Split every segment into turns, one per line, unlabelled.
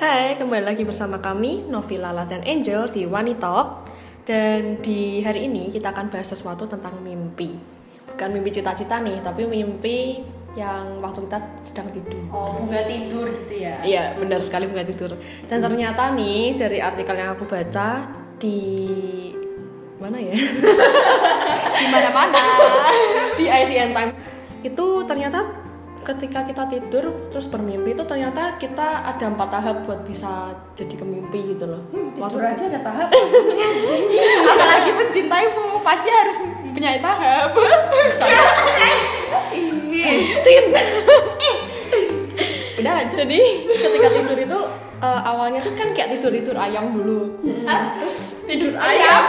Hai, kembali lagi bersama kami Novila dan Angel di Wanita Talk dan di hari ini kita akan bahas sesuatu tentang mimpi. Bukan mimpi cita-cita nih, tapi mimpi yang waktu kita sedang tidur.
Oh, bunga tidur gitu ya.
Iya, benar sekali bunga tidur. Dan ternyata nih dari artikel yang aku baca di mana ya?
di mana-mana.
di ITN Times itu ternyata ketika kita tidur terus bermimpi itu ternyata kita ada empat tahap buat bisa jadi kemimpi gitu loh. Iya.
Tidur aja ada tahap.
Apalagi mencintaimu, pasti harus punya tahap.
Cin. Udah jadi ketika tidur itu eh, awalnya tuh kan kayak tidur tidur ayam dulu.
Terus tidur ayam.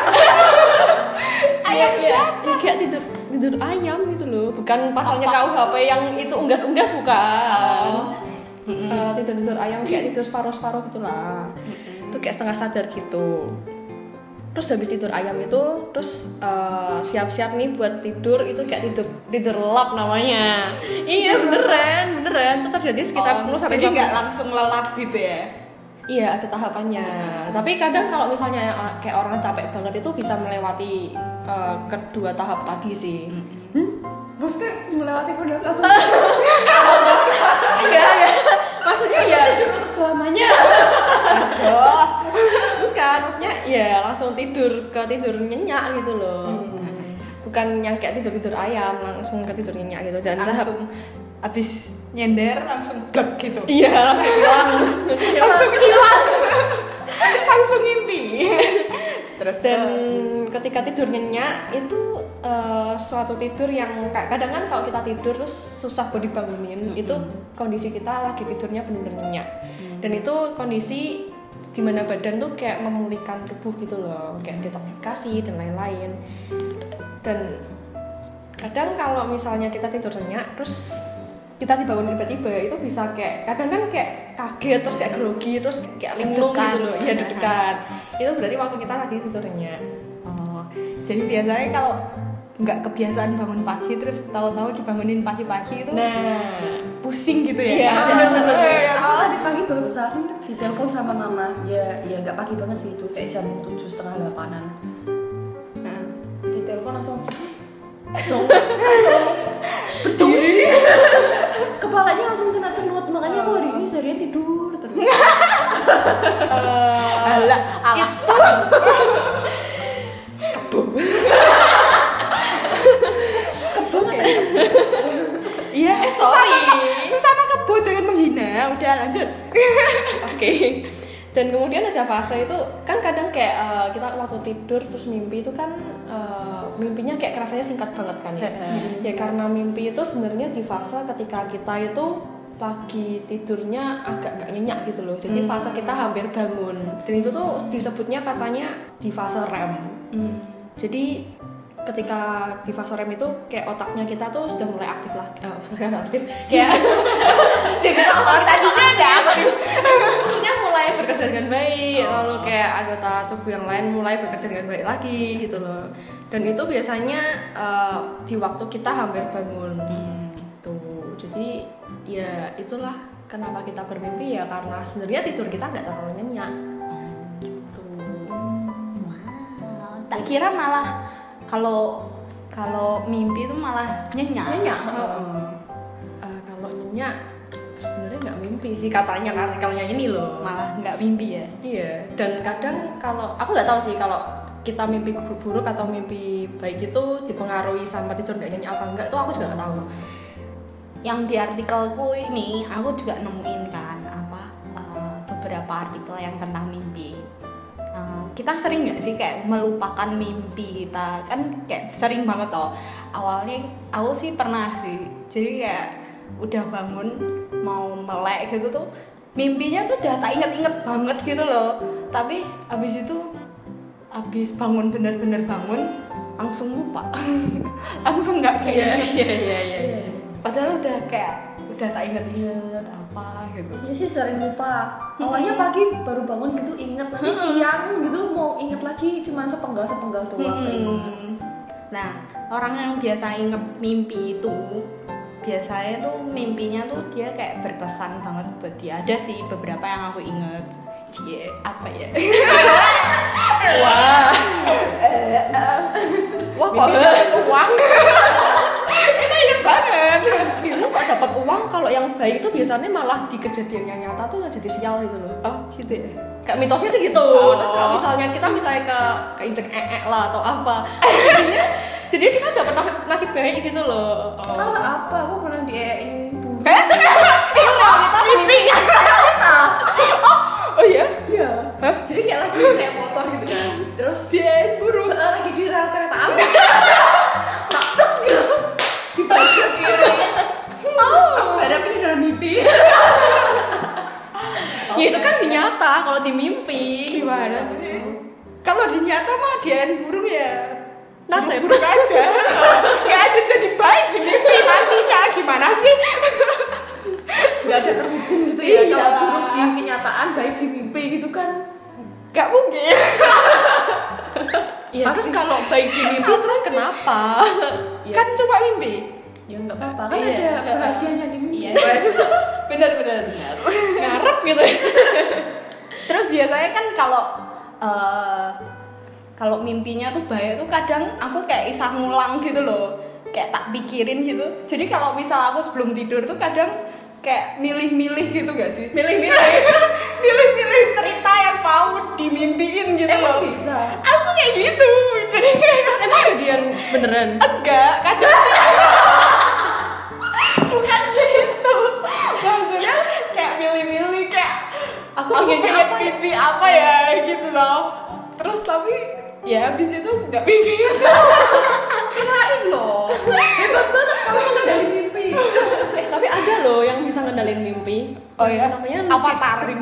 ayam
Iya,
siapa?
iya, kayak tidur tidur ayam gitu loh. Bukan pasalnya kau HP yang itu unggas-unggas bukan.
Oh.
tidur tidur ayam kayak tidur separuh separuh gitulah. Itu kayak setengah sadar gitu. Terus habis tidur ayam itu, terus eh, siap-siap nih buat tidur itu kayak tidur tidur lelap namanya. iya beneran beneran. Itu terjadi sekitar 10 sampai
Oh, Jadi nggak
15
langsung lelap gitu ya.
Iya ada tahapannya. Tapi kadang kalau misalnya uh, kayak orang capek banget itu bisa melewati uh, kedua tahap tadi sih.
Hmm? Maksudnya melewati produk langsung
Enggak, enggak. Maksudnya ya
tidur untuk selamanya.
bukan, maksudnya ya langsung tidur ke tidur nyenyak gitu loh.
Hmm.
Bukan yang kayak tidur tidur ayam langsung ke tidur nyenyak gitu dan tahap-
Langsung abis nyender langsung blek gitu.
Iya langsung hilang.
Langsung hilang. langsung mimpi. Terus
dan
terus.
ketika tidur nyenyak itu eh, suatu tidur yang kayak kadang kan kalau kita tidur terus susah buat dibangunin itu kondisi kita lagi tidurnya benar-benar nyenyak dan itu kondisi di mana badan tuh kayak memulihkan tubuh gitu loh kayak detoksifikasi dan lain-lain dan kadang kalau misalnya kita tidur nyenyak terus kita dibangun tiba-tiba itu bisa kayak kadang kan kayak kaget terus kayak grogi terus kayak linglung
Deg-degan.
gitu loh ya deg-degan itu berarti waktu kita lagi tidur nyenyak
Oh, jadi biasanya kalau nggak kebiasaan bangun pagi terus tahu-tahu dibangunin pagi-pagi itu
nah
pusing gitu ya.
Iya, bener-bener.
Iya,
Aku
malah
tadi pagi baru saling ditelepon sama mama. Ya, ya nggak pagi banget sih itu kayak jam tujuh setengah delapanan.
Nah,
Ditelepon langsung langsung langsung betul
Iya.
kepalanya langsung cenut cenut makanya aku hari ini seharian tidur terus
ala
Iya.
alasan.
kebo nggak tadi?
Iya, eh,
sorry.
sesama- Sesama kebo jangan menghina. Udah lanjut.
Oke. Dan kemudian ada fase itu kan kadang kayak eh, kita waktu tidur terus mimpi itu kan eh, mimpinya kayak rasanya singkat banget kan ya.
Heeh.
ya karena mimpi itu sebenarnya di fase ketika kita itu pagi tidurnya agak nggak nyenyak gitu loh. Jadi fase kita hampir bangun. Dan itu tuh disebutnya katanya di fase REM. Jadi ketika di fase REM itu kayak otaknya kita tuh sudah mulai aktif lagi eh, sudah aktif kayak jadi otak tadinya ada aktif maksudnya mulai bekerja dengan baik lalu kayak anggota tubuh yang lain mulai bekerja dengan baik lagi gitu loh dan itu biasanya eh, di waktu kita hampir bangun gitu jadi ya itulah kenapa kita bermimpi ya karena sebenarnya tidur kita nggak terlalu nyenyak gitu
Wow, tak kira malah kalau kalau mimpi itu malah nyenyak.
Nyenyak,
Heeh.
Eh, kalau nyenyak sebenarnya nggak mimpi sih katanya artikelnya ini loh
Malah nggak mimpi ya.
iya dan kadang kalau aku nggak tahu sih kalau kita mimpi buruk atau mimpi baik itu dipengaruhi sama tidur nggak nyenyak apa enggak itu aku juga nggak tahu
yang di artikelku ini aku juga nemuin kan apa uh, beberapa artikel yang tentang mimpi Uh, kita sering nggak sih kayak melupakan mimpi kita kan kayak sering banget toh awalnya aku sih pernah sih jadi kayak udah bangun mau melek gitu tuh mimpinya tuh udah tak inget-inget banget gitu loh tapi abis itu abis bangun bener-bener bangun langsung lupa langsung nggak kayak
iya iya iya
padahal udah kayak udah tak inget-inget apa gitu
Iya sih sering lupa. Awalnya pagi baru bangun gitu inget, nanti siang gitu mau inget lagi cuman sepenggal sepenggal doang. gitu.
nah orang yang biasa inget mimpi itu biasanya tuh mimpinya tuh dia kayak berkesan banget buat dia ada sih beberapa yang aku inget cie apa ya
Wah kok
Mimpi
dapat uang?
kita inget banget
Biasanya kok dapat uang kalau yang baik itu biasanya malah di kejadian yang nyata tuh jadi sial gitu loh.
oh gitu ya
Kayak mitosnya sih gitu.
Oh.
Terus kalau misalnya kita misalnya ke keinjek ee lah atau apa. Jadinya jadi kita dapat na- nasib baik gitu loh. Eh?
Kalau apa? Aku pernah diein bumbu. Iya,
oh iya
Iya. Jadi kayak lagi naik motor gitu kan. Terus diein burung.
Eh,
Lagi di rel kereta api. Tak tak gitu. Di baju kiri. No. Padahal ini dalam mimpi.
Ya itu kan di nyata, kalau di mimpi gimana
Bisa,
sih?
kalau di nyata mah dian burung ya
Nah,
Nasib.
burung aja nggak ada jadi baik di mimpi nantinya gimana sih
Gak ada terhubung gitu ya.
Iya.
Kalau buruk di kenyataan, baik di mimpi gitu kan.
nggak mungkin Iya.
Ya, terus kalau baik di mimpi terus kenapa?
kan cuma mimpi
Ya nggak apa-apa. Kan
Iya.
ada bahagianya di mimpi.
iya benar benar benar
Ngarep gitu ya.
terus biasanya kan kalau eh, kalau mimpinya tuh baik tuh kadang aku kayak isah ngulang gitu loh kayak tak pikirin gitu jadi kalau misal aku sebelum tidur tuh kadang kayak milih-milih gitu gak sih milih-milih milih-milih cerita yang mau dimimpiin gitu
Emang
loh
bisa.
aku kayak gitu jadi kayak
Emang kejadian beneran?
enggak kan kadang bukan gitu maksudnya kayak milih-milih kayak
Aku
aku
pengennya
pengen
apa ya?
pipi apa ya gitu loh terus tapi ya habis itu nggak pipi
Kirain loh. Hebat banget kamu mengendali mimpi.
Eh tapi ada loh yang bisa ngendalin mimpi.
oh ya
Namanya
apa
lucid
tarim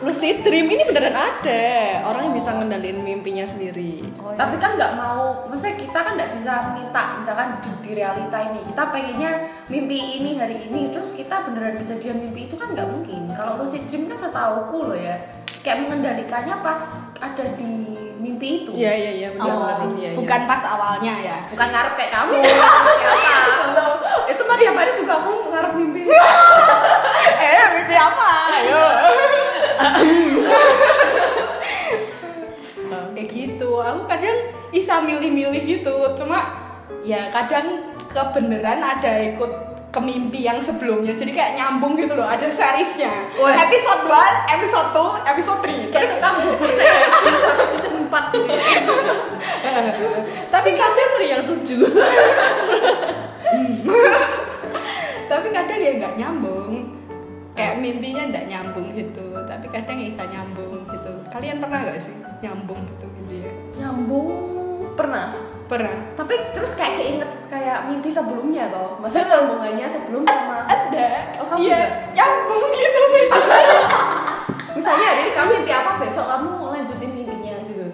lucid dream ini beneran ada. Orang yang bisa ngendalin mimpinya sendiri.
Tapi kan nggak mau, maksudnya kita kan nggak bisa minta misalkan di, di realita ini kita pengennya mimpi ini hari ini terus kita beneran kejadian mimpi itu kan nggak mungkin. Kalau lucid dream kan setauku loh ya, kayak mengendalikannya pas ada di mimpi itu.
Iya iya iya benar
Oh,
benar. Iya, iya.
bukan pas awalnya ya
Bukan ngarep kayak kamu. Siapa? itu mah tiap hari juga aku ngarep mimpi.
eh mimpi apa ayo kayak gitu aku kadang bisa milih-milih gitu cuma ya kadang kebeneran ada ikut ke mimpi yang sebelumnya jadi kayak nyambung gitu loh ada seriesnya
Wes.
episode 1, episode 2, episode 3
Kayak kamu bubur saya season 4 gitu.
tapi kadang
Februari yang tujuh.
Hmm. tapi kadang ya nggak nyambung kayak mimpinya nggak nyambung gitu tapi kadang ya bisa nyambung gitu kalian pernah nggak sih nyambung gitu mimpinya
Nyambung pernah.
pernah
tapi terus kayak keinget kayak mimpi sebelumnya tau maksudnya sambungannya sebelum sama
ada
Oh, kamu
iya
nggak?
nyambung gitu
misalnya hari ini kamu mimpi apa besok kamu lanjutin mimpinya gitu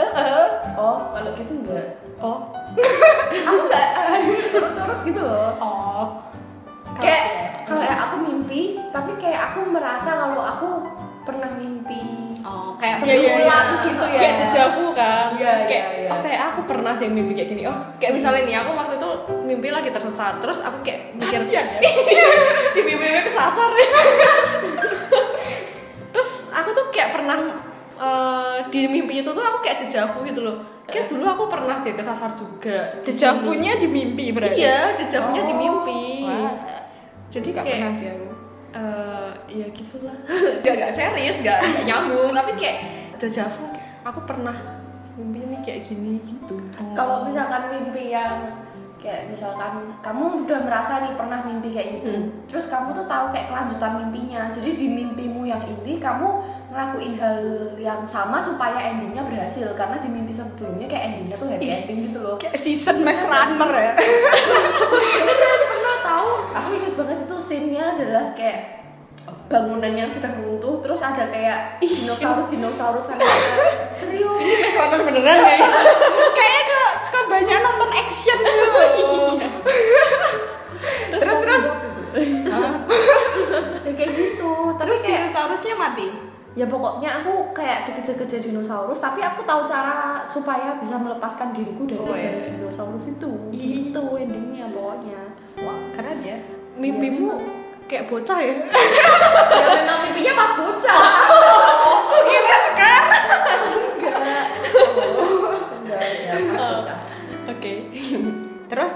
Eh, eh.
oh kalau gitu enggak
oh
aku enggak hari ini turut-turut gitu loh
oh
kayak kalau ya aku mimpi tapi kayak aku merasa kalau aku pernah mimpi
oh kayak
Iya, iya, iya.
berulang gitu ya
Kayak dejavu kan.
Iya, iya,
kayak
iya.
oh kayak aku pernah deh mimpi kayak gini. Oh, kayak misalnya nih aku waktu itu mimpi lagi tersesat. Terus aku kayak mikir
Kasian ya.
di mimpi-mimpi kesasar. terus aku tuh kayak pernah eh, di mimpi itu tuh aku kayak dejavu gitu loh. Kayak dulu aku pernah deh kesasar juga.
dejavunya di mimpi berarti
Iya, dejavunya di
Oh.
mimpi.
Wah. jadi nggak
Kayak-
pernah sih aku
eh ya gitulah gak gak serius gak, gak nyambung tapi kayak dejavu aku pernah mimpi ini kayak gini gitu
kalau misalkan mimpi yang kayak misalkan kamu udah merasa nih pernah mimpi kayak gitu
Hmm.
terus kamu tuh tahu kayak kelanjutan mimpinya jadi di mimpimu yang ini kamu ngelakuin hal yang sama supaya endingnya berhasil karena di mimpi sebelumnya kayak endingnya tuh happy ending gitu loh
kayak season Maze Runner ya
pernah tahu aku inget banget itu scene-nya adalah kayak bangunan yang sedang runtuh terus ada kayak dinosaurus dinosaurus yang serius
Maze Runner beneran
ya?
kayaknya
kayaknya ke kebanyakan nonton action gitu
terus
terus terus
ya kayak gitu tapi
terus
kayak
dinosaurusnya mati
ya ya pokoknya aku kayak dikejar-kejar dinosaurus tapi aku tahu cara supaya bisa melepaskan diriku dari
Oh,
kejaran
iya.
dinosaurus itu
Ih.
itu endingnya pokoknya Iya.
Wah, keren ya.
mimpimu kayak bocah ya
ya memang mimpinya pas bocah
Oh,
iya,
kira sekarang.
enggak enggak ya pas bocah
oke
Terus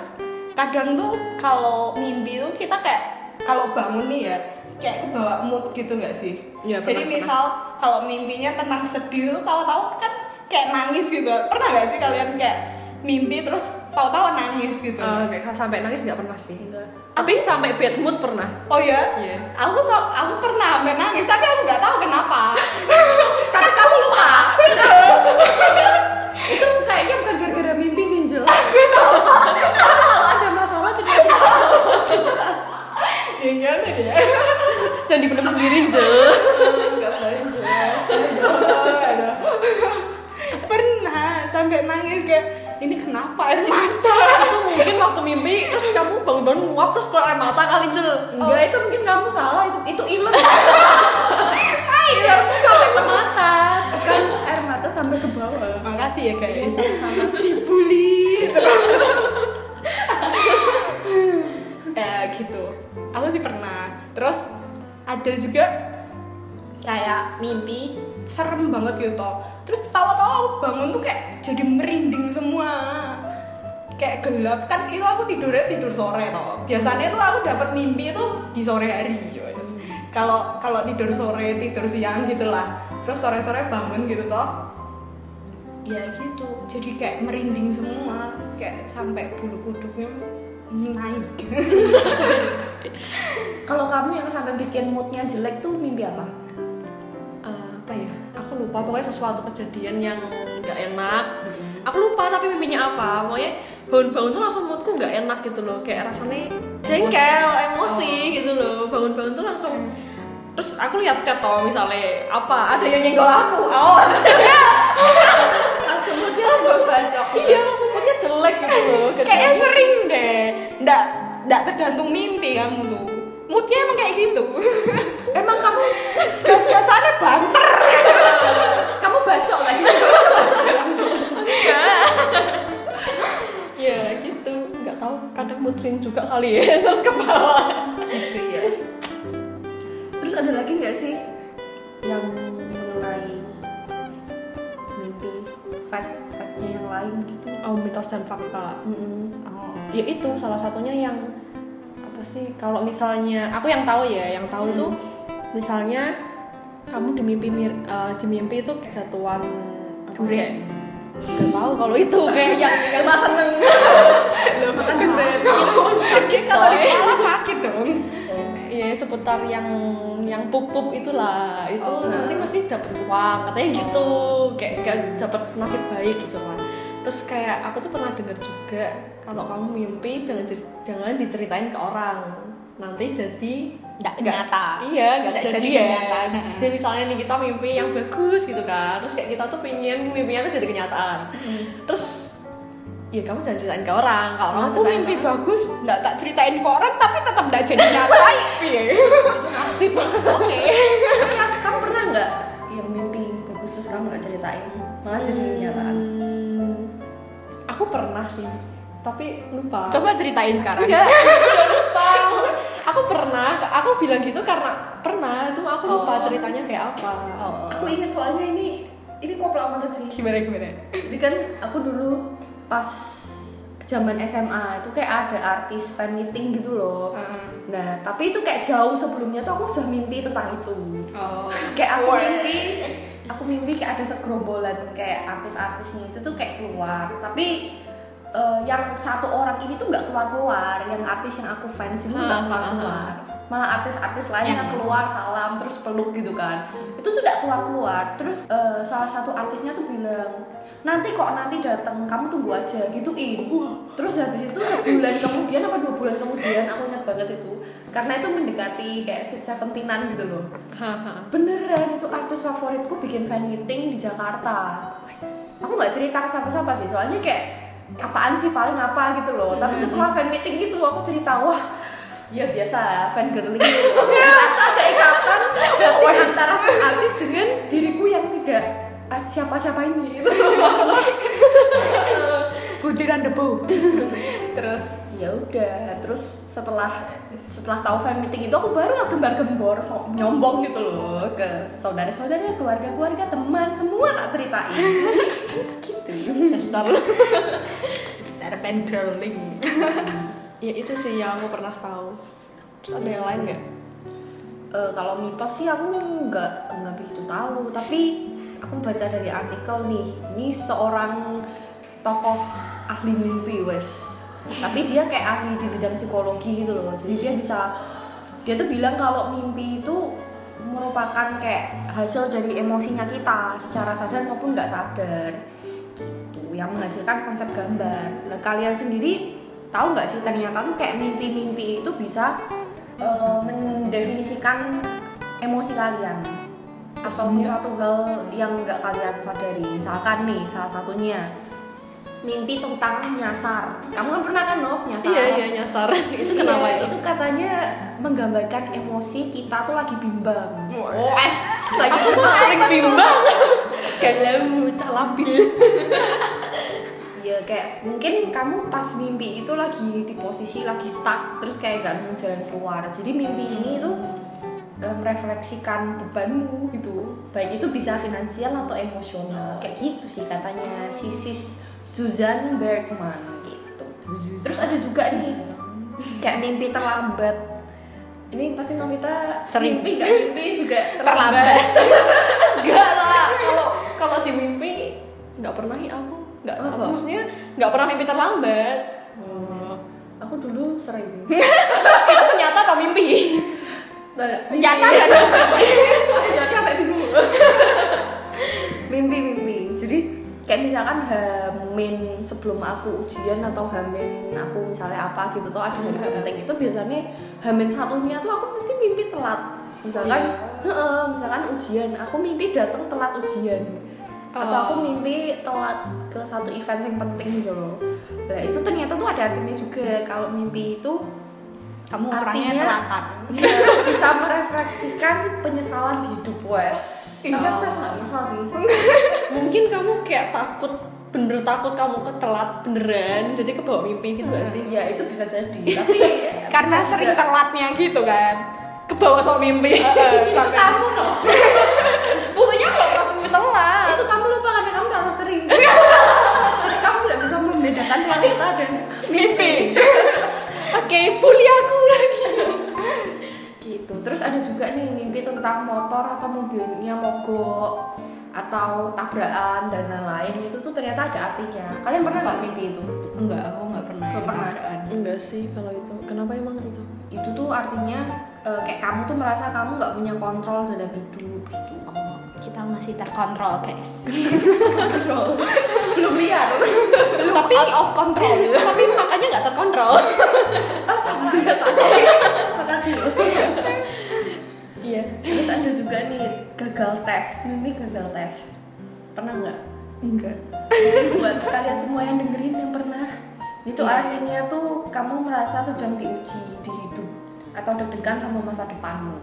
kadang tuh kalau mimpi tuh kita kayak kalau bangun nih ya kayak kebawa mood gitu nggak sih?
Iya,
Jadi
pernah,
misal kalau mimpinya tentang sedih tuh tahu-tahu kan kayak nangis gitu. Pernah nggak sih kalian kayak mimpi terus tahu-tahu nangis gitu?
Eh, kayak sampai nangis nggak pernah sih
enggak
tapi sampai bad mood pernah
Oh ya?
Iya.
Aku so- aku pernah hampir nangis tapi aku nggak tahu kenapa.
tapi kamu lupa itu kayaknya bukan gara-gara mimpi sih Angel. kalau ada masalah cuma
Jangan ya.
jangan dipendam sendiri Jel
enggak boleh
Iya,
pernah sampai nangis kayak ini kenapa air mata?
itu mungkin waktu mimpi terus kamu bangun-bangun nguap terus keluar air mata kali Jel
enggak itu mungkin kamu salah itu itu ilen air kamu sampai ke mata kan air mata sampai ke bawah
Makasih ya guys.
Sama.
Dibully. ya gitu. Aku sih pernah. Terus ada juga kayak mimpi serem banget gitu toh. Terus tawa-tawa aku bangun tuh kayak jadi merinding semua. Kayak gelap kan itu aku tidurnya tidur sore toh. Biasanya tuh aku dapat mimpi itu di sore hari. guys. Kalau kalau tidur sore tidur siang gitulah. Terus sore-sore bangun gitu toh ya gitu jadi kayak merinding semua kayak sampai bulu kuduknya naik
kalau kamu yang sampai bikin moodnya jelek tuh mimpi apa
Eh, apa ya aku lupa pokoknya sesuatu kejadian yang nggak enak aku lupa tapi mimpinya apa pokoknya bangun-bangun tuh langsung moodku nggak enak gitu loh kayak rasanya jengkel emosi gitu loh bangun-bangun tuh langsung terus aku lihat chat toh misalnya apa ada yang nyenggol aku oh
langsung moodnya langsung bacok
iya langsung moodnya jelek gitu loh
kayaknya sering deh ndak ndak tergantung mimpi kamu tuh moodnya emang kayak gitu
emang kamu
gas-gasannya banter
kamu bacok tadi
ya gitu nggak tahu kadang mood swing juga kali ya terus ke bawah
gitu ya
terus ada lagi nggak sih yang mengenai mimpi fact factnya yang lain gitu
oh mitos dan fakta
Mm-mm.
oh
ya itu salah satunya yang apa sih kalau misalnya aku yang tahu ya yang tahu itu misalnya kamu di mimpi mir- eh, di mimpi itu kayak jatuhan
Durian.
nggak tahu kalau itu kayak yang yang
Emang seneng Makan durian.
sakit kalau di
Coy.
kepala sakit dong
ya seputar yang yang pup pup itulah itu
Oh.
nanti mesti dapat uang katanya gitu kayak gak dapat nasib baik gitu kan terus kayak aku tuh pernah dengar juga kalau kamu mimpi jangan cer- jangan diceritain ke orang nanti jadi
ndak nyata
Iya,
Nggak
nggak jadi
jadi
ya.
kenyataan.
Jadi misalnya nih kita mimpi yang bagus gitu kan, terus kayak kita tuh pengen mimpinya tuh jadi kenyataan. Terus ya kamu jangan ceritain ke orang kalau kamu
aku
ceritain
mimpi
ke orang,
bagus ndak tak ceritain ke orang tapi tetap ndak jadi nyata Iya.
itu nasib.
oke
Kamu pernah nggak yang mimpi bagus terus kamu nggak ceritain malah jadi kenyataan?
Hmm, aku pernah sih, tapi lupa.
coba ceritain sekarang
Enggak, udah lupa. Aku pernah, aku bilang gitu karena pernah, cuma aku lupa
Oh.
ceritanya kayak apa.
Oh.
Aku ingat soalnya ini ini koplo banget sih.
gimana gimana
Jadi kan aku dulu pas zaman SMA itu kayak ada artis fan meeting gitu loh. Nah, tapi itu kayak jauh sebelumnya tuh aku sudah mimpi tentang itu.
oh
Kayak aku mimpi, aku mimpi kayak ada segerombolan kayak artis-artisnya itu tuh kayak keluar. Tapi eh, yang satu orang ini tuh nggak keluar-keluar, yang artis yang aku fans itu
Ah,
nggak
ah,
keluar-keluar. Malah artis-artis lain
Yang-
yang keluar salam terus peluk gitu kan. Itu tuh nggak keluar-keluar. Terus eh, salah satu artisnya tuh bilang, "Nanti kok nanti datang, kamu tunggu aja." Gituin. Terus habis itu sebulan kemudian apa dua bulan kemudian aku ingat banget itu karena itu mendekati kayak sweet seventeenan gitu loh.
Haha.
Beneran itu artis favoritku bikin fan meeting di Jakarta. Aku nggak cerita ke siapa-siapa sih, soalnya kayak apaan sih paling apa gitu loh. Tapi setelah fan meeting gitu aku cerita wah ya biasa fan girling gitu. Terus ada ikatan batin antara si artis dengan tidak ah, siapa-siapa ini gitu.
Butiran debu. Terus
ya udah terus setelah setelah tahu fan meeting itu aku barulah gembar-gembor so- nyombong gitu loh ke saudara-saudara keluarga-keluarga teman semua tak ceritain gitu
Dasar
serpent darling.
ya itu sih yang aku pernah tahu terus ada yang lain nggak
Eh, kalau mitos sih aku nggak nggak begitu tahu tapi aku baca dari artikel nih ini seorang tokoh ahli mimpi wes tapi dia kayak ahli di bidang psikologi gitu loh jadi dia bisa dia tuh bilang kalau mimpi itu merupakan kayak hasil dari emosinya kita secara sadar maupun nggak sadar gitu yang menghasilkan konsep gambar nah kalian sendiri tahu nggak sih ternyata tuh kayak mimpi-mimpi itu bisa eh, mendefinisikan emosi kalian atau sesuatu hal yang nggak kalian sadari misalkan nih salah satunya mimpi tentang nyasar kamu kan pernah kan Nov nyasar
iya iya nyasar itu
Iya,
kenapa itu
itu katanya menggambarkan emosi kita tuh lagi bimbang
Oh, es lagi aku sering bimbang galau calabil
Iya kayak mungkin kamu pas mimpi itu lagi di posisi lagi stuck terus kayak gak nemu jalan keluar. Jadi mimpi
Hmm.
ini tuh eh, merefleksikan bebanmu gitu. Baik itu bisa finansial
Oh.
atau emosional. Kayak gitu sih katanya sisis Susan Bergman gitu. Terus ada juga nih kayak mimpi terlambat. Ini pasti Novita
Sering.
mimpi gak mimpi juga
Terlambat.
enggak lah kalau kalau di mimpi nggak pernah ya aku nggak
Masa?
aku maksudnya nggak pernah mimpi terlambat
Oh, Aku dulu sering.
itu nyata atau mimpi
Nyata kan?
jadi Iya. sampai bingung mimpi mimpi jadi kayak misalkan hamin sebelum aku ujian atau hamin aku misalnya apa gitu tuh ada hari penting itu biasanya hamin satunya tuh aku mesti mimpi telat misalkan heeh, misalkan ujian aku mimpi datang telat ujian atau
Oh.
aku mimpi telat ke satu event yang penting gitu loh nah itu ternyata tuh ada artinya juga kalau mimpi itu
Kamu orangnya
Artinya-
telatan.
bisa merefleksikan penyesalan di hidup Wes. Tapi
Iya.
aku rasa gak nyesal sih.
mungkin kamu kayak takut bener takut kamu ketelat beneran jadi kebawa mimpi gitu gak sih
Iya itu bisa jadi. Tapi ya,
Karena
bisa
sering
juga.
telatnya gitu kan.
kebawa sama mimpi
itu kamu loh.
buktinya nggak pernah mimpi telat
itu kamu lupa karena kamu terlalu sering.
Iya.
Jadi kamu tidak bisa membedakan realita dan
Mimpi.
oke bully aku lagi
gitu. Terus ada juga nih mimpi tentang motor atau mobilnya mogok atau tabrakan dan lain-lain itu tuh ternyata ada artinya. Kalian pernah nggak mimpi itu?
Enggak, aku enggak pernah. gitu.
Nggak
yang
pernah.
tabrakan.
enggak sih kalau itu kenapa emang itu
Itu tuh artinya eh, kayak kamu tuh merasa kamu nggak punya kontrol dalam hidup gitu.
Oh, kita masih terkontrol, guys.
Kontrol. Belum lihat.
Tapi out of control.
tapi makanya nggak terkontrol
Ah, sama ya, tak. Makasih. Iya, terus ada juga nih gagal tes, mimpi gagal tes. Pernah nggak?
Enggak.
Buat kalian semua yang dengerin yang pernah. Itu
Iya.
artinya tuh kamu merasa sedang diuji di hidup atau deg-degan sama masa depanmu.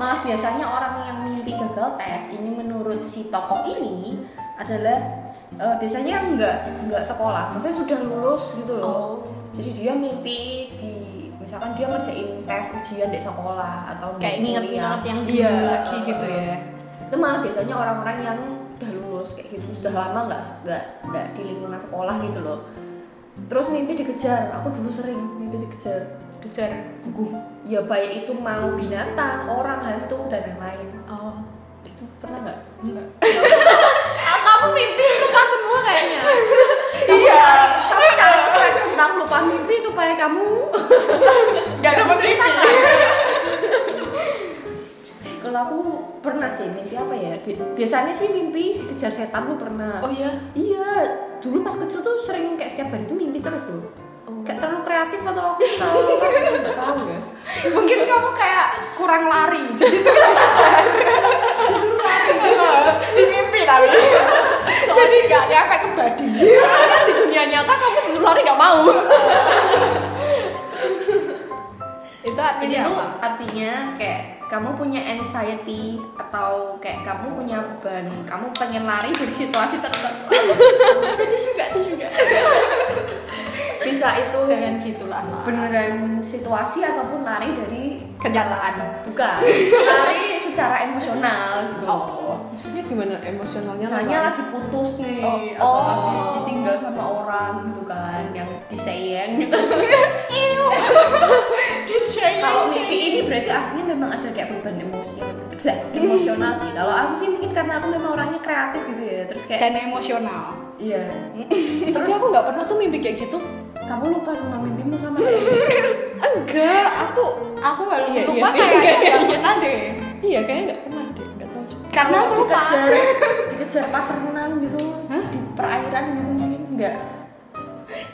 Malah biasanya orang yang mimpi gagal tes ini menurut si tokoh ini adalah eh, biasanya nggak nggak sekolah, maksudnya sudah lulus gitu loh
Oh.
jadi dia mimpi di misalkan dia ngerjain tes ujian di sekolah
Kayak
atau di kuliah.
nginget-nginget yang dulu
Iya.
lagi gitu ya.
itu malah biasanya orang-orang yang udah lulus kayak gitu sudah lama nggak nggak nggak di lingkungan sekolah gitu loh terus mimpi dikejar aku dulu sering mimpi dikejar
Kejar gugup.
ya baik itu mau binatang orang hantu dan lain-lain
Oh,
itu pernah nggak
enggak.
kamu mimpi lupa semua kayaknya
Iya.
kamu cari quest tentang lupa mimpi supaya kamu
Enggak dapat mimpi.
Kalau aku pernah sih mimpi apa ya? Bi- Biasanya sih mimpi dikejar setan tuh pernah.
oh iya
iya, dulu pas kecil tuh sering kayak setiap hari tuh mimpi terus loh. Kayak terlalu kreatif atau aku terlalu nggak tahu ya.
Mungkin kamu kayak kurang lari. Jadi di mimpi tapi. Jadi enggak nyampe ke badan.
di dunia nyata kamu disuruh lari nggak mau
Itu artinya
Itu
apa? Iya.
artinya kayak kamu punya anxiety atau kayak kamu punya beban, kamu pengen lari dari situasi tertentu. itu juga, itu juga. Bisa itu
jangan gitulah Lara.
beneran situasi ataupun lari dari
kenyataan
bukan lari secara emosional gitu.
oh
Maksudnya gimana emosionalnya?
Misalnya
Lara?
lagi putus nih,
Oh.
atau
Oh.
habis ditinggal sama orang gitu kan, yang disayang. Kalau mimpi ini berarti artinya memang ada kayak beban emosi Bleh, emosional sih. Kalau aku sih mungkin karena aku memang orangnya kreatif gitu ya. Terus kayak
dan emosional
iya.
Tapi aku nggak pernah tuh mimpi kayak gitu.
Kamu lupa sama mimpimu sama kayak
enggak aku aku baru
Iya,
lupa
iya sih.
kayaknya
Iya,
nggak pernah deh
Iya, kayaknya nggak pernah deh, nggak tahu juga.
karena aku lupa
dikejar, dikejar pas renang gitu di perairan gitu mungkin enggak.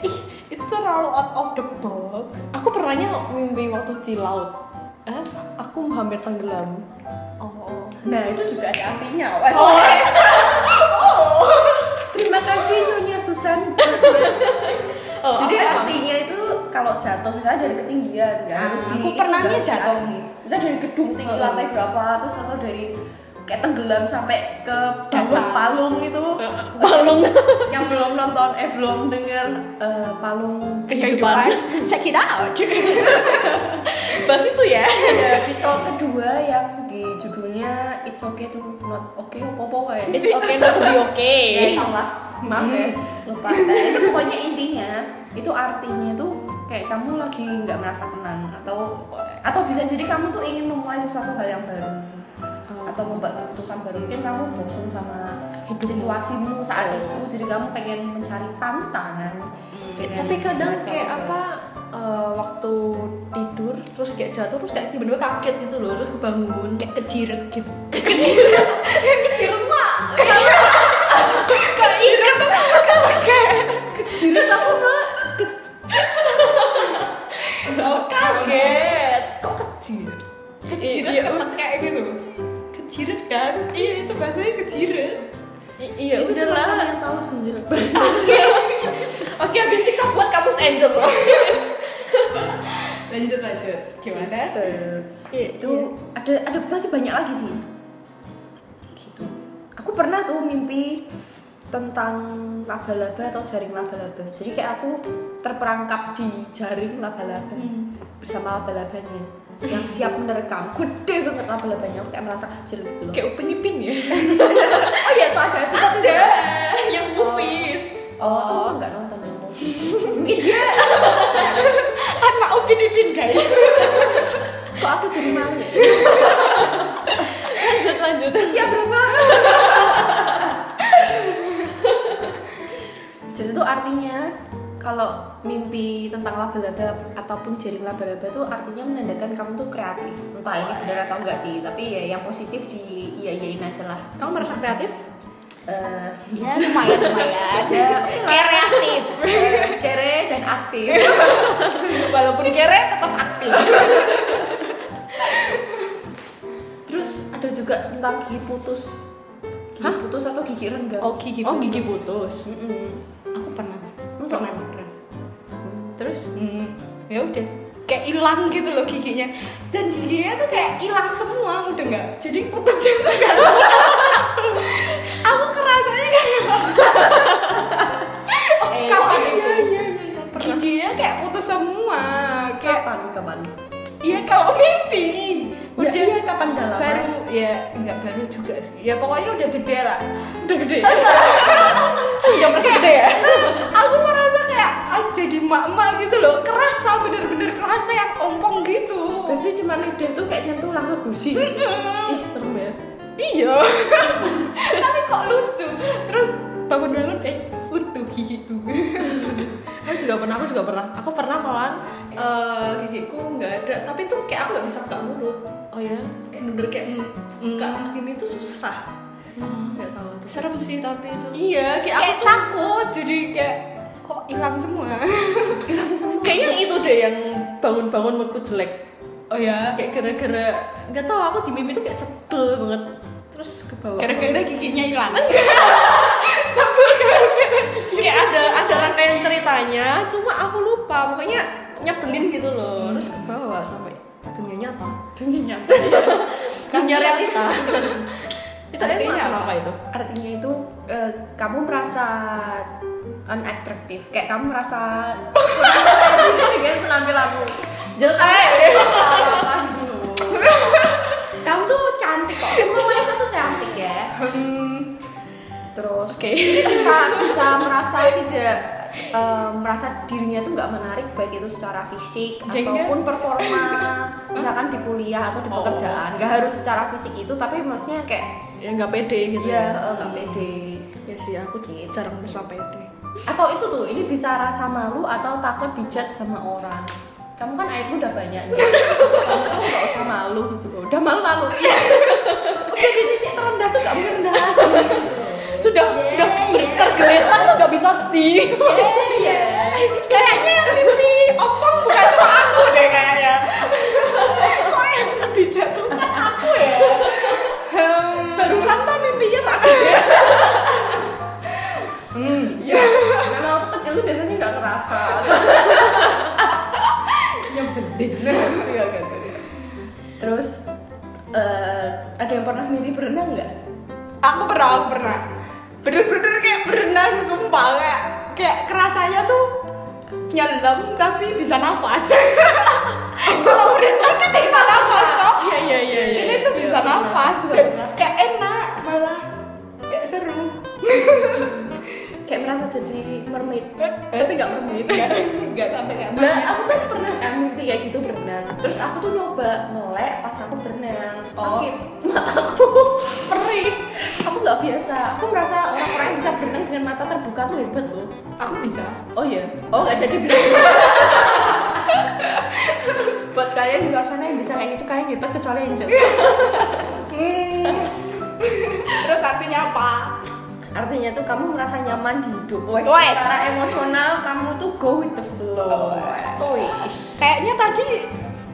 ih itu terlalu out of the box
Aku pernahnya mimpi waktu di laut. Aku hampir tenggelam.
oh
Nah itu juga ada artinya. Wes. Terima kasih Nyonya Susan.
Oh,
Jadi
aku emang-
artinya itu kalau jatuh misalnya dari ketinggian ya
Ah,
harus
aku pernah nih jatuh.
Bisa dari gedung tinggi
Heeh.
lantai berapa terus atau dari kayak tenggelam sampai ke
Dasar.
dasar palung itu
balung
yang belum nonton eh belum denger eh, palung
kehidupan.
check it out
Bahas itu ya.
ada Vito kedua yang di judulnya It's Okay to Not Okay apa-apa kayak
It's okay not to be okay.
ya salah maaf ya lupa itu pokoknya intinya itu artinya itu kayak kamu lagi nggak merasa tenang atau atau bisa jadi kamu tuh ingin memulai sesuatu hal yang baru atau membuat keputusan baru mungkin kamu bosan sama situasimu saat itu jadi kamu pengen mencari tantangan dengan
tapi kadang
sesuatu
kayak
baru.
apa eh, waktu tidur terus kayak jatuh terus kayak tiba-tiba kaget gitu loh terus kebangun
kayak kejiret gitu
Kecil mah
kejiret
Jadi kamu mah
kaget kok kecil
kejiret
Iya,
kepekek gitu kejiret kan iya itu bahasanya kejiret
I- iya
itu cuma
udahlah
kamu yang tahu sendiri
oke habis kita buat kampus angel loh
lanjut lanjut gimana
itu
Iya.
ada ada masih banyak lagi sih gitu aku pernah tuh mimpi tentang laba-laba atau jaring laba-laba jadi kayak aku terperangkap di jaring laba-laba bersama laba-labanya yang siap menerkam gede banget laba-labanya aku kayak merasa kecil gitu loh
kayak upin ipin ya
oh iya tuh ada episode
ada yang movies
oh, oh nggak nonton yang movie
mungkin dia
anak upin ipin guys
kok aku jadi malu ya?
lanjut lanjut
Usia berapa? Jadi itu artinya kalau mimpi tentang laba-laba ataupun jaring laba-laba itu artinya menandakan kamu tuh kreatif. Entah ini benar atau enggak sih, tapi ya yang positif di iya iyain aja lah.
kamu merasa kreatif
Eh,
ya lumayan lumayan kreatif
kere dan aktif.
walaupun kere tetap aktif
Terus ada juga tentang gigi putus. Gigi
Hah?
putus atau gigi renggang.
oh gigi
oh gigi putus
putus.
Mm-mm.
aku pernah
Masa?
pernah pernah
terus
hmm.
ya udah
kayak hilang gitu loh giginya dan giginya tuh kayak hilang semua udah nggak jadi putus itu nggak ada. aku kerasanya kayak oh,
Eh,
kapan
iya,
itu
iya iya
Gitu.
giginya kayak putus semua kayak
Kapan kapan?
iya kalau mimpi
Ya,
udah
iya, kapan dalam?
baru ya nggak baru juga sih ya pokoknya udah gede lah
udah gede udah merasa gede ya
aku merasa kayak ah, jadi mak-mak gitu loh kerasa bener-bener kerasa yang ompong gitu
Biasanya cuma lidah tuh kayak nyentuh langsung gusi.
Mm-mm.
Ih, serem ya.
iya tapi kok lucu terus bangun-bangun eh utuh gitu
aku juga pernah aku juga pernah aku pernah malahan eh, gigiku nggak ada tapi tuh kayak aku nggak bisa buka mulut
oh ya Hmm.
kayak bener kayak mm, buka ini tuh susah nggak tahu tuh
serem sih tapi itu
iya kayak aku
kayak
tuh
takut jadi kayak kok hilang semua
kayaknya itu deh yang bangun-bangun moodku jelek
oh ya
kayak gara-gara nggak tahu aku di mimpi tuh kayak sebel banget terus ke bawah
gara-gara giginya hilang
kayak ada ada
Hmm.
rangkaian ceritanya cuma aku lupa pokoknya nyebelin gitu loh terus ke bawah sampai dunia nyata
dunia nyata
dunia realita itu
Artinya
emang
apa
itu
artinya itu eh, kamu merasa unattractive kayak kamu merasa dengan penampilanmu
jelek
Apaan dulu kamu tuh cantik kok semua wanita tuh cantik ya
Mm.
terus
Oke.
bisa bisa merasa tidak eh, merasa dirinya tuh nggak menarik baik itu secara fisik
Jengkel.
ataupun performa misalkan di kuliah atau di
Oh.
pekerjaan nggak harus secara fisik itu tapi maksudnya kayak
ya nggak pede gitu
ya eh, nggak pede
ya sih aku tuh
Gitu.
jarang merasa pede
atau itu tuh ini bisa rasa malu atau takut dijat sama orang kamu kan aibmu udah banyak nih kamu tuh nggak usah malu gitu loh udah Iya. malu malu udah di titik terendah tuh gak mungkin rendah lagi
sudah udah ber- tergeletak tuh nggak bisa di kayaknya mimpi opong bukan cuma aku deh kayaknya kok yang dijatuhkan aku ya
barusan tuh mimpinya sakit
hmm.
ya memang waktu kecil tuh biasanya nggak ngerasa
nyebelin
Iya, iya, iya, iya. terus eh, ada yang pernah mimpi berenang nggak
aku pernah aku pernah bener-bener kayak berenang sumpah kayak kayak kerasanya tuh nyelam tapi bisa nafas kalau berenang kan nggak bisa nafas toh
iya iya iya iya.
ini tuh bisa
Iya, benar.
nafas
Iya, benar.
kayak enak malah kayak seru
kayak merasa jadi mermaid
tapi Eh, nggak mermaid nggak sampai kayak
Nah, aku kan pernah kan mimpi kayak gitu berenang. Terus aku tuh nyoba melek pas aku berenang. Sakit mataku perih. Aku nggak biasa. Aku merasa orang-orang yang bisa berenang dengan mata terbuka tuh hebat loh.
aku bisa
Oh iya. Oh nggak jadi bilang. Buat kalian di luar sana yang bisa kayak gitu kalian hebat kecuali Angel.
hmm. terus artinya apa
Artinya tuh kamu merasa nyaman di hidup. Wes,
Wes.
Secara emosional kamu tuh go with the flow.
Kayaknya tadi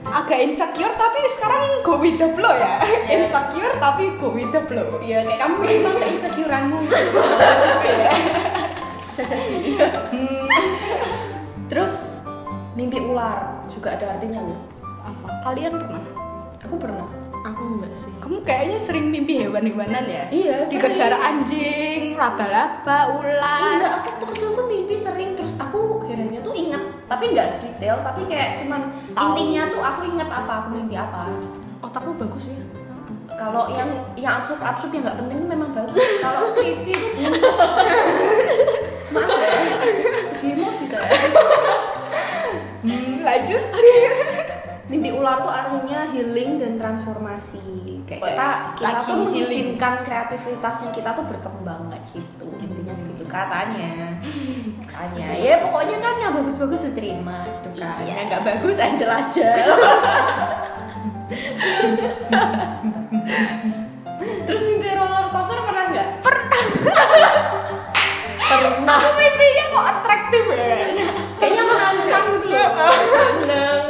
agak insecure tapi sekarang go with the flow ya. Insecure tapi go with the flow.
Iya, kayak kamu memang keinsecureanmu gitu. Bisa jadi. Terus mimpi ular juga ada artinya loh.
Apa? Kalian pernah?
Aku pernah.
aku enggak sih
Kamu kayaknya sering mimpi hewan-hewanan ya?
Iya, sering.
Dikejar anjing, laba-laba, ular.
Enggak, aku waktu kecil tuh mimpi sering terus aku herannya tuh inget tapi nggak detail tapi kayak cuman
Tahu.
intinya tuh aku inget apa aku mimpi apa.
otakmu bagus ya
Kalau yang yang absurd absurd yang nggak penting tuh memang bagus. Kalau skripsi itu belum. Maaf ya, jadi emosi saya.
Hmm, lanjut.
Mimpi ular tuh artinya healing dan transformasi. Kayak
Wah,
kita kita
lagi
tuh
healing.
mengizinkan kreativitasnya kita tuh berkembang kayak gitu. Intinya segitu katanya. Katanya. Ya pokoknya kan yang bagus-bagus diterima gitu kan.
Iya.
Yang nggak bagus angel aja. Terus mimpi roller coaster pernah nggak?
pernah
Aku mimpinya kok atraktif ya.
Kayaknya menantang gitu loh. Seneng.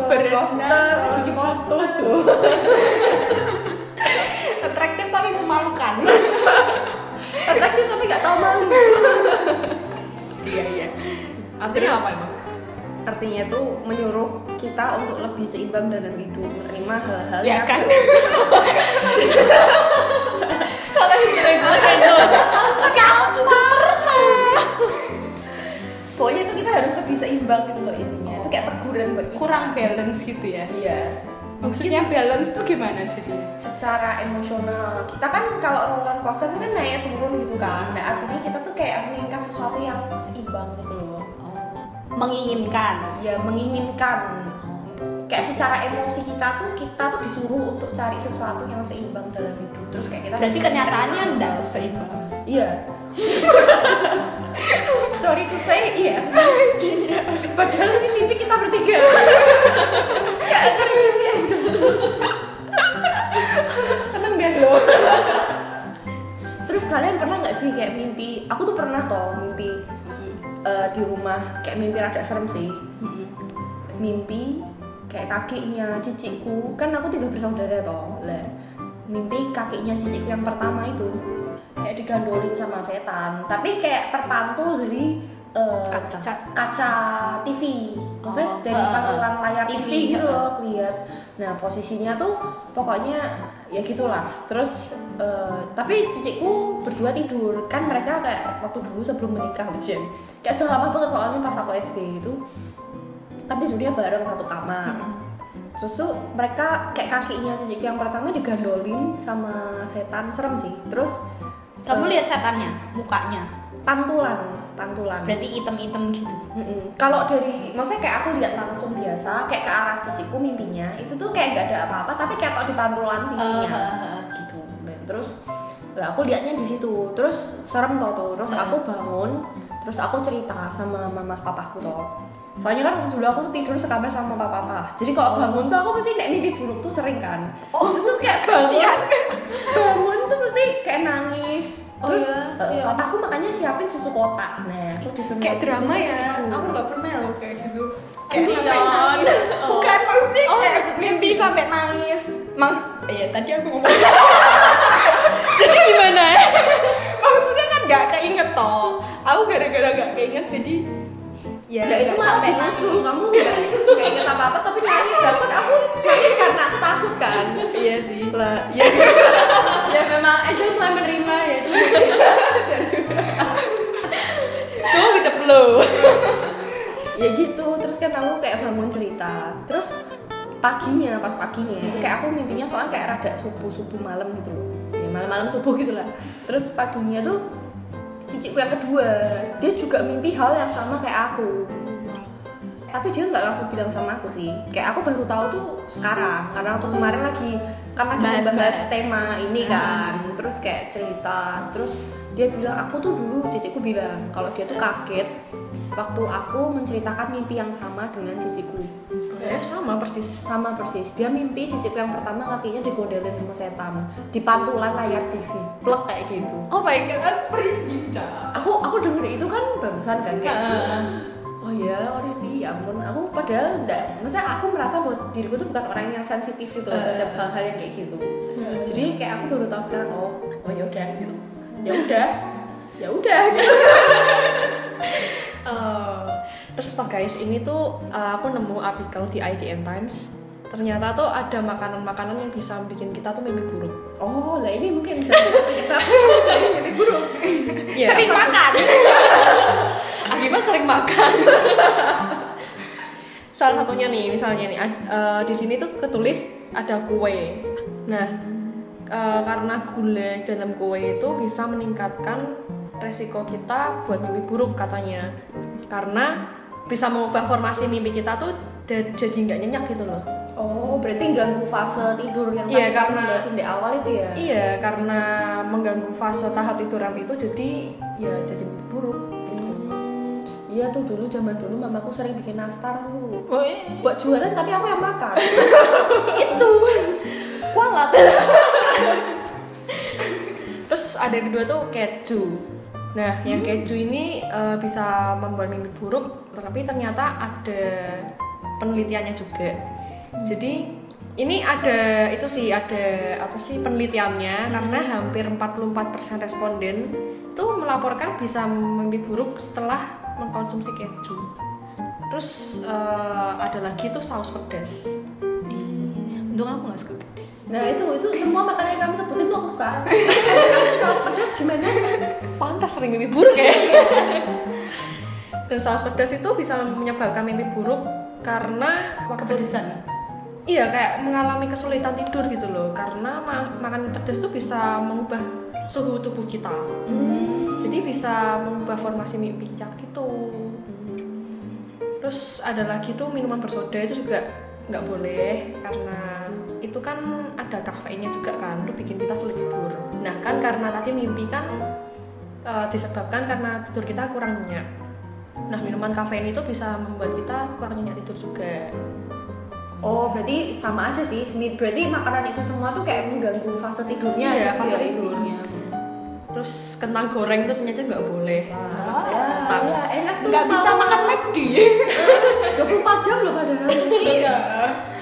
Roller coaster,
Berenang.
tinggi postus tuh.
Atraktif tapi memalukan.
Atraktif tapi nggak tahu malu.
iya, iya.
artinya apa emang
artinya tuh menyuruh kita untuk lebih seimbang dalam hidup menerima hal-hal
Ya
yang
kan.
kalau jelek-jelek
Tapi aku cuma pernah.
pokoknya itu kita harus lebih seimbang gitu loh intinya itu kayak teguran buat kita
Kurang balance gitu ya.
iya
Maksudnya balance tuh gimana jadinya?
secara emosional kita kan kalau roller coaster itu kan naik turun gitu kan nah artinya kita tuh kayak menginginkan sesuatu yang seimbang gitu loh
Oh, menginginkan
ya menginginkan kayak secara emosi kita tuh kita tuh disuruh untuk cari sesuatu yang seimbang dalam hidup terus kayak kita
berarti
disuruh
kenyataannya
menerima.
enggak seimbang
Iya. Sorry to say, iya. Padahal ini mimpi kita bertiga. Kayak serius ya. Seneng deh lo. Terus kalian pernah nggak sih kayak mimpi? Aku tuh pernah toh mimpi eh, di rumah kayak mimpi rada serem sih. Mimpi kayak kakeknya cicikku kan aku tiga bersaudara toh lah mimpi kakeknya cicikku yang pertama itu kayak digandolin sama setan tapi kayak terpantul dari eh,
Kaca.
kaca TV maksudnya
Oh,
dari
eh,
pantulan layar TV,
TV,
gitu
eh.
loh lihat nah posisinya tuh pokoknya ya gitulah terus eh, tapi cicikku berdua tidur kan mereka kayak waktu dulu sebelum menikah Jen kayak sudah lama banget soalnya pas aku SD itu kan tidurnya bareng satu kamar terus tuh mereka kayak kakinya cicikku yang pertama digandolin sama setan serem sih terus
Kamu
eh,
lihat setannya, mukanya.
pantulan pantulan
Berarti item-item gitu.
Mm-mm. Kalau dari, maksudnya kayak aku lihat langsung biasa, kayak ke arah ciciku mimpinya, itu tuh kayak nggak ada apa-apa, tapi kayak kalau di pantulan
Eh,
TV-nya
eh, eh.
gitu. Dan terus, lah aku liatnya di situ, terus serem tau tuh, terus
Hmm.
aku bangun, terus aku cerita sama mama papaku tuh. Soalnya kan waktu dulu aku tidur sekamar sama papa jadi kalau bangun tuh aku mesti nek mimpi buruk tuh sering kan.
Oh,
terus kayak bangun, bangun tuh mesti kayak nangis.
Oh,
Terus
iya,
eh,
iya.
papaku makanya siapin susu kotak. Nah, aku disemprot
kayak
susu
drama ya
kotak.
aku nggak pernah loh kayak gitu
Kayak
Kayak
sampai nangis.
bukan maksudnya gitu.
Oh,
kayak
maksudnya
mimpi sampai nangis maksud ya tadi aku ngomong
Jadi gimana ya?
maksudnya kan nggak keinget toh aku gara-gara nggak keinget jadi ya
ya
nggak
itu malah
sampai
gimana
nangis
tuh kamu nggak nggak inget apa apa tapi nangis lah kan aku nangis karena aku takut kan
iya sih
lah ya ya memang Angel mulai menerima ya itu
Go with the flow.
ya gitu terus kan aku kayak bangun cerita terus paginya pas paginya itu kayak aku mimpinya soalnya kayak rada subuh subuh malam gitu loh ya malam-malam subuh gitu lah terus paginya tuh cicikku yang kedua dia juga mimpi hal yang sama kayak aku tapi dia nggak langsung bilang sama aku sih kayak aku baru tahu tuh sekarang karena waktu kemarin lagi karena lagi
Bahas-bahas. Ah.
bahas tema ini kan terus kayak cerita terus dia bilang aku tuh dulu cicikku bilang kalau dia tuh kaget waktu aku menceritakan mimpi yang sama dengan cicikku
Ya sama persis.
sama persis dia mimpi cicikku yang pertama kakinya digondelin sama setan di pantulan layar TV plek kayak gitu
oh my god aku merinding Ca.
aku aku denger itu kan bagusan kan kayak
Ah.
oh ya Oridi ya ampun aku padahal enggak maksudnya aku merasa bahwa diriku tuh bukan orang yang sensitif
Eh.
gitu loh terhadap hal-hal yang kayak gitu
Hmm.
jadi kayak aku baru tahu sekarang oh oh ya udah gitu ya udah ya udah gitu
Eh, terus toh guys, ini tuh eh, aku nemu artikel di IDN Times. Ternyata tuh ada makanan-makanan yang bisa bikin kita tuh mimpi buruk.
oh lah ini mungkin bisa jadi jadi buruk
Ya,
sering makan
akibat sering makan. Salah satunya nih, misalnya nih, ad- eh, di sini tuh ketulis ada kue. Nah, eh, karena gula dalam kue itu bisa meningkatkan resiko kita buat mimpi buruk katanya. Karena bisa mengubah formasi mimpi kita tuh da- jadi nggak nyenyak gitu loh.
oh berarti ganggu fase tidur yang
Iya,
tadi kamu
karena-
jelasin di awal itu ya
Iya, karena mengganggu fase tahap tiduran itu jadi ya jadi buruk. gitu.
iya tuh dulu zaman dulu mamaku sering bikin nastar dulu
Woi.
buat jualan tapi aku yang makan itu kualat
Terus ada yang kedua tuh keju. Nah, yang keju ini eh, bisa membuat mimpi buruk, tapi ternyata ada penelitiannya juga. Jadi ini ada itu sih ada apa sih penelitiannya karena hampir 44% responden tuh melaporkan bisa mimpi buruk setelah mengkonsumsi keju. Terus eh, ada lagi tuh saus pedas.
Untung aku gak suka pedes.
Nah itu itu semua makanan yang kamu sebutin tuh aku suka. Kamu saus pedas gimana?
pantas sering mimpi buruk ya dan saus pedas itu bisa menyebabkan mimpi buruk karena waktu
Kepedesan.
iya kayak mengalami kesulitan tidur gitu loh karena ma- makan pedas tuh bisa mengubah suhu tubuh kita jadi bisa mengubah formasi mimpi kita gitu terus ada lagi tuh minuman bersoda itu juga nggak boleh karena itu kan ada kafeinnya juga kan itu bikin kita sulit tidur nah kan karena tadi mimpi kan eh, disebabkan karena tidur kita kurang nyenyak nah minuman kafein itu bisa membuat kita kurang nyenyak tidur juga
Oh berarti sama aja sih. Mi- Berarti makanan itu semua tuh kayak mengganggu fase tidurnya
Iya,
gitu
fase
ya,
tidur.
intinya.
terus kentang goreng itu ternyata nggak boleh
Ah,
Kentang.
ya, enak tuh.
nggak bisa
Mama.
makan McD
24 jam loh padahal.
iya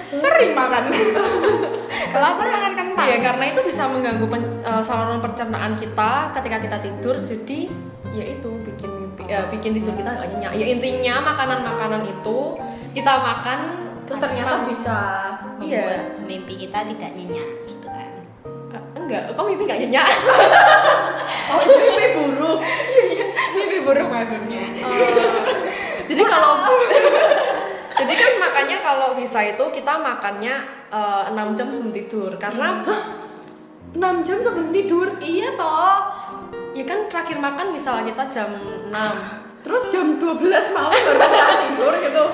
sering makan kelapa makan kentang
e, Iya, karena itu bisa mengganggu pen- eh, saluran pencernaan kita ketika kita tidur. Jadi ya itu bikin mimpi ya, bikin tidur kita nggak nyenyak ya intinya makanan makanan itu kita makan
itu ternyata
Nah,
bisa
Iya.
membuat mimpi kita tidak nyenyak gitu kan
eh, enggak kok mimpi nggak nyenyak oh itu mimpi buruk
Iya,
mimpi buruk maksudnya
jadi kalau jadi kan makanya kalau bisa itu kita makannya eh, 6 jam sebelum tidur karena
6 jam sebelum tidur
iya toh
ya kan terakhir makan misalnya kita jam 6
terus jam 12 malam baru kita tidur gitu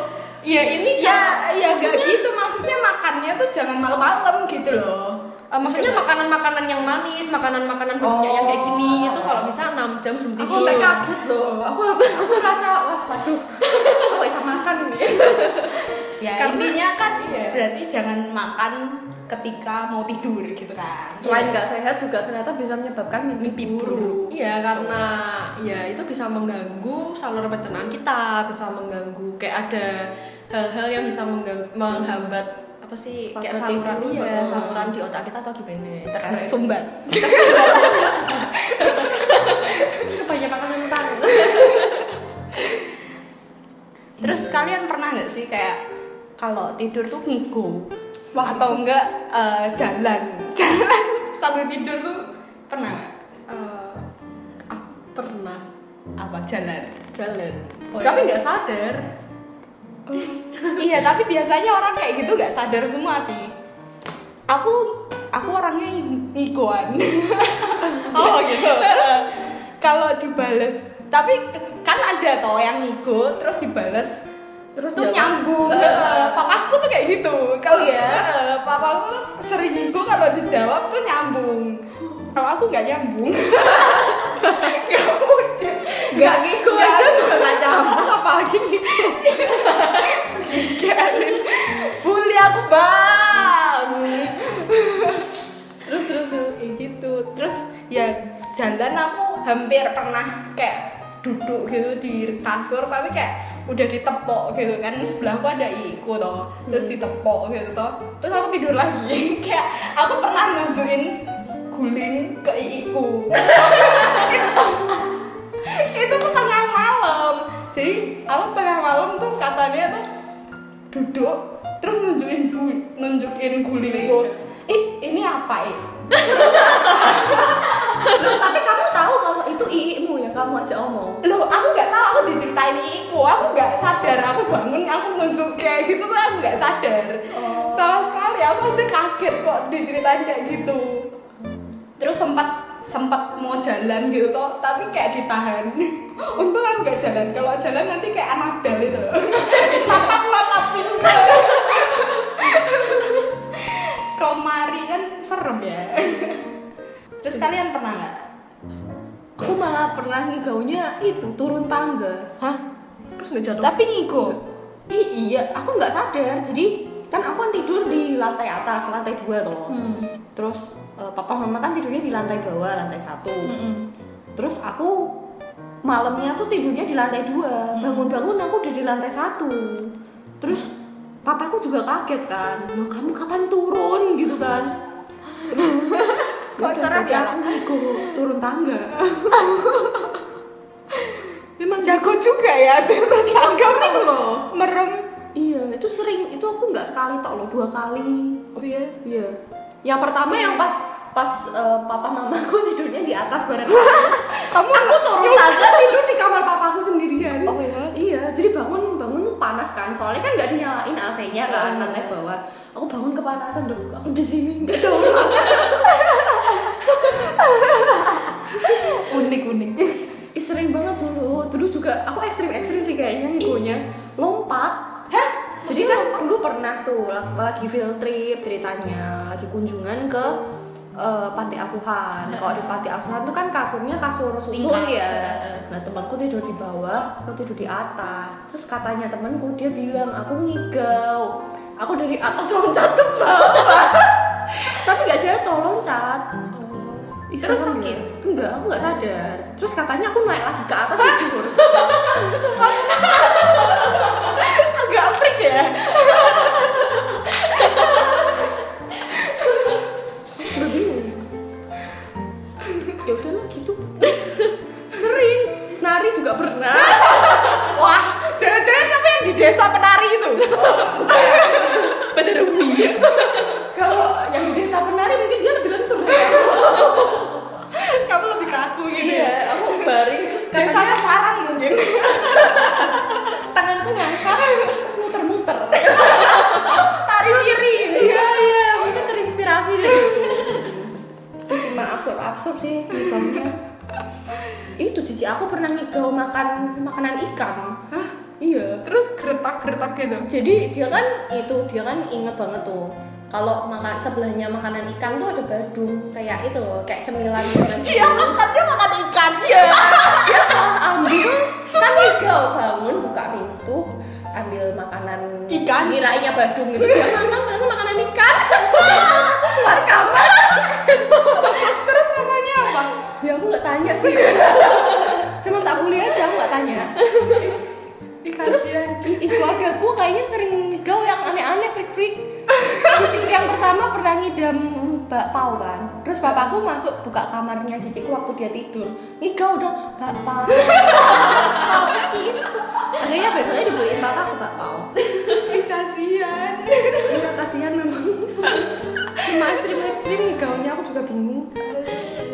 iya,
ya ini
ya ya gak
Maksudnya-
gitu maksudnya makannya tuh jangan malam-malam gitu loh
Eh, maksudnya makanan-makanan yang manis, makanan-makanan berminyak yang kayak gini itu kalau bisa 6 jam sebelum
Iya.
aku
tidur.
sampai kabut loh aku aku rasa wah waduh aku gak bisa makan nih
ya
Karena-
intinya kan
iya.
berarti jangan makan ketika mau tidur gitu kan
selain nggak sehat juga ternyata bisa menyebabkan mimpi,
mimpi buruk
Iya karena ya itu bisa mengganggu saluran pencernaan kita, bisa mengganggu kayak ada hal-hal yang bisa mengganggu, menghambat apa sih kayak
Fase
saluran
tidur,
iya
heeh.
saluran di otak kita atau gimana
tersumbat
banyak makan kentang
terus kalian pernah nggak sih kayak kalau tidur tuh ngigo
Wah,
atau enggak eh, jalan jalan sambil tidur tuh pernah nggak?
Eh, aku pernah
apa jalan
jalan
Oh,
tapi
iya.
nggak sadar
iya tapi biasanya orang kayak gitu nggak sadar semua sih aku aku orangnya ng- ngigoan
oh gitu
terus kalau dibales tapi ke- kan ada toh yang ngigo terus dibales
terus
tuh
jalan. Eh. Iya.
nyambung Heeh, papaku tuh kayak gitu kalau ya papaku tuh sering ngigo kalau dijawab tuh nyambung kalau aku nggak nyambung Ya nggak mudah
nggak ngigo aja juga nggak nyambung apalagi ngigo
digalin bully aku bang
terus terus terus
kayak gitu terus ya jalan aku hampir pernah kayak duduk gitu di kasur tapi kayak udah ditepok gitu kan sebelahku ada iku toh
Hmm.
terus ditepok gitu toh terus aku tidur lagi kayak aku pernah nunjukin guling ke iiku itu tuh tengah malam jadi aku tengah malam tuh katanya tuh duduk terus nunjukin bu- nunjukin gulingku ih ini apa ih
Loh, tapi kamu tahu kalau itu iimu ya kamu aja omong
loh aku nggak tahu aku diceritain iku aku nggak sadar aku bangun aku nunjuk kayak gitu tuh aku nggak sadar sama sekali aku aja kaget kok diceritain kayak gitu terus sempat sempat mau jalan gitu toh tapi kayak ditahan untung aku nggak jalan kalau jalan nanti kayak anak bel itu tatap tatapin ke kemari kan serem ya terus kalian pernah nggak
aku malah pernah ngigaunya itu turun tangga
hah
terus nggak jatuh
tapi ngigo
I- iya aku nggak sadar jadi kan aku kan tidur di lantai atas lantai dua tuh
Hmm.
terus eh, papa mama kan tidurnya di lantai bawah lantai satu
Hmm.
terus aku malamnya tuh tidurnya di lantai
Hmm.
dua bangun-bangun aku udah di lantai satu terus papaku juga kaget kan loh kamu kapan turun gitu kan terus
Kok
udah,
serem ya?
papa, aku turun tangga memang gitu.
jago juga ya turun tangga merem loh merem
iya itu sering itu aku nggak sekali tok loh dua kali
oh iya
Iya. Yang pertama yang pas pas eh, papa mamaku tidurnya di atas bareng aku.
kamu aku turun
Yang aku tidur di kamar papaku sendirian.
oh iya
Iya, jadi bangun bangun tuh panas kan, soalnya kan nggak dinyalain AC-nya kan
Hmm.
lantai bawah. Aku bangun kepanasan dong, aku di sini nggak ada orang.
unik unik
Ih, sering banget dulu, dulu juga aku ekstrim ekstrim sih kayaknya ngigonya lompat. Jadi kan dulu pernah tuh lak- lagi field trip ceritanya, lagi kunjungan ke eh, panti asuhan. Kalau di panti asuhan tuh kan kasurnya kasur susun
Tingkat.
ya. Nah temanku tidur di bawah, aku tidur di atas. Terus katanya temanku dia bilang aku ngigau. Aku dari atas loncat ke bawah. Tapi nggak jatuh loncat. Ih,
Terus
serem
sakit?
ya? Enggak, aku nggak sadar. Terus katanya aku naik lagi ke atas tidur.
agak freak ya
Gue bingung. ya udahlah gitu. Sering.
desa penari itu
Bener Wi.
Kalau yang desa penari mungkin dia lebih lentur.
kamu lebih ke aku gitu
Iya,
ya
aku baring terus
desa sekarang mungkin
tanganku ngangkat terus muter-muter.
tari kiri
Iya, iya, mungkin terinspirasi dari situ. Itu sih mah absurd-absurd sih ngigaunya. Itu cici aku pernah ngigau makan makanan ikan. Hah? Iya.
terus geretak geretak gitu
Jadi dia kan itu dia kan inget banget tuh kalau makan sebelahnya makanan ikan tuh ada badung kayak itu loh kayak cemilan cemilan
dia Iya, makan dia makan ikan
Iya,
ya
dia salah ambil Ah, kan legal bangun buka pintu ambil makanan
Ikan? Iya.
kirainnya badung gitu dia makan ternyata makanan ikan keluar kamar
terus rasanya apa
ya aku nggak tanya sih cuman tak boleh aja aku nggak tanya
ikan
terus i- i- keluargaku kayaknya sering gaul yang aneh-aneh freak-freak cicikku yang pertama pernah ngidam bakpao kan terus bapakku masuk buka kamarnya cicikku waktu dia tidur ngigau dong bakpao akhirnya besoknya dibeliin bapakku bakpao
Ih, kasihan
iya kasihan memang cuma ekstrim-ekstrim ngigaunya aku juga bingung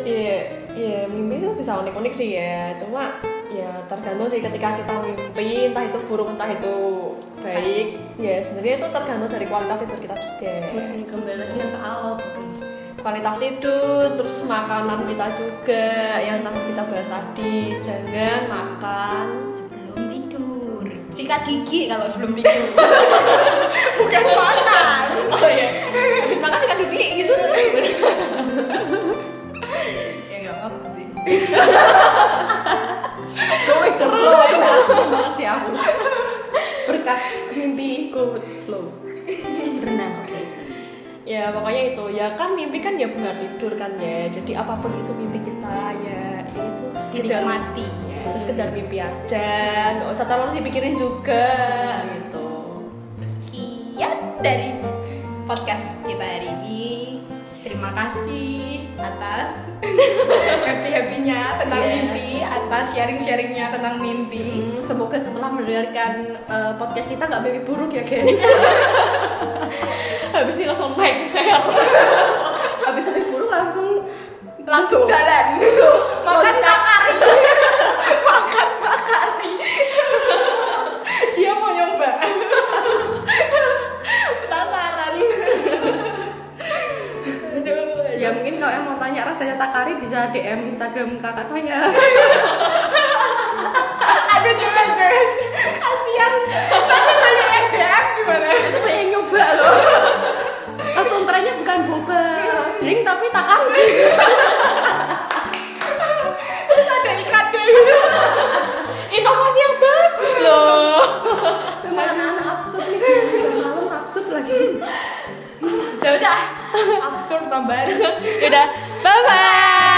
Iya, iya mimpi itu bisa unik-unik sih ya. Cuma ya tergantung sih ketika kita mimpi entah itu buruk entah itu baik. Ya sebenarnya itu tergantung dari kualitas tidur kita juga.
ini kembali lagi yang ke awal
Kualitas tidur, terus makanan kita juga yang tadi kita bahas tadi. Jangan makan
sebelum tidur sikat gigi kalau sebelum tidur
bukan makan
Oh iya. Habis makan sih gigi gitu terus
ya nggak apa sih
Go with the flow. Langsung banget sih aku.
berkat mimpi go with flow
pernah
ya pokoknya itu ya kan mimpi kan ya bukan tidur kan ya jadi apapun itu mimpi kita ya itu sekedar
dinikmati
ya, itu sekedar mimpi aja nggak usah terlalu dipikirin juga gitu
sekian dari podcast kita hari ini terima kasih atas happy happynya tentang
Iya.
mimpi atas sharing sharingnya tentang mimpi
Hmm, semoga setelah mendengarkan eh, podcast kita nggak mimpi buruk ya guys
habis ini langsung nightmare
habis mimpi buruk langsung
langsung jalan makan bakari makan bakari
Iya,
dia mau nyoba penasaran aduh
ya mungkin kalau yang mau tanya rasanya takari bisa DM Instagram kakak saya
aduh juga Jen kasihan nanti banyak yang DM gimana
itu banyak yang nyoba loh langsung trennya bukan boba drink tapi takari
terus ada ikan deh
inovasi yang bagus loh
memang anak-anak absurd nih Udah malam absurd lagi
ya udah absurd tambahan
udah bye bye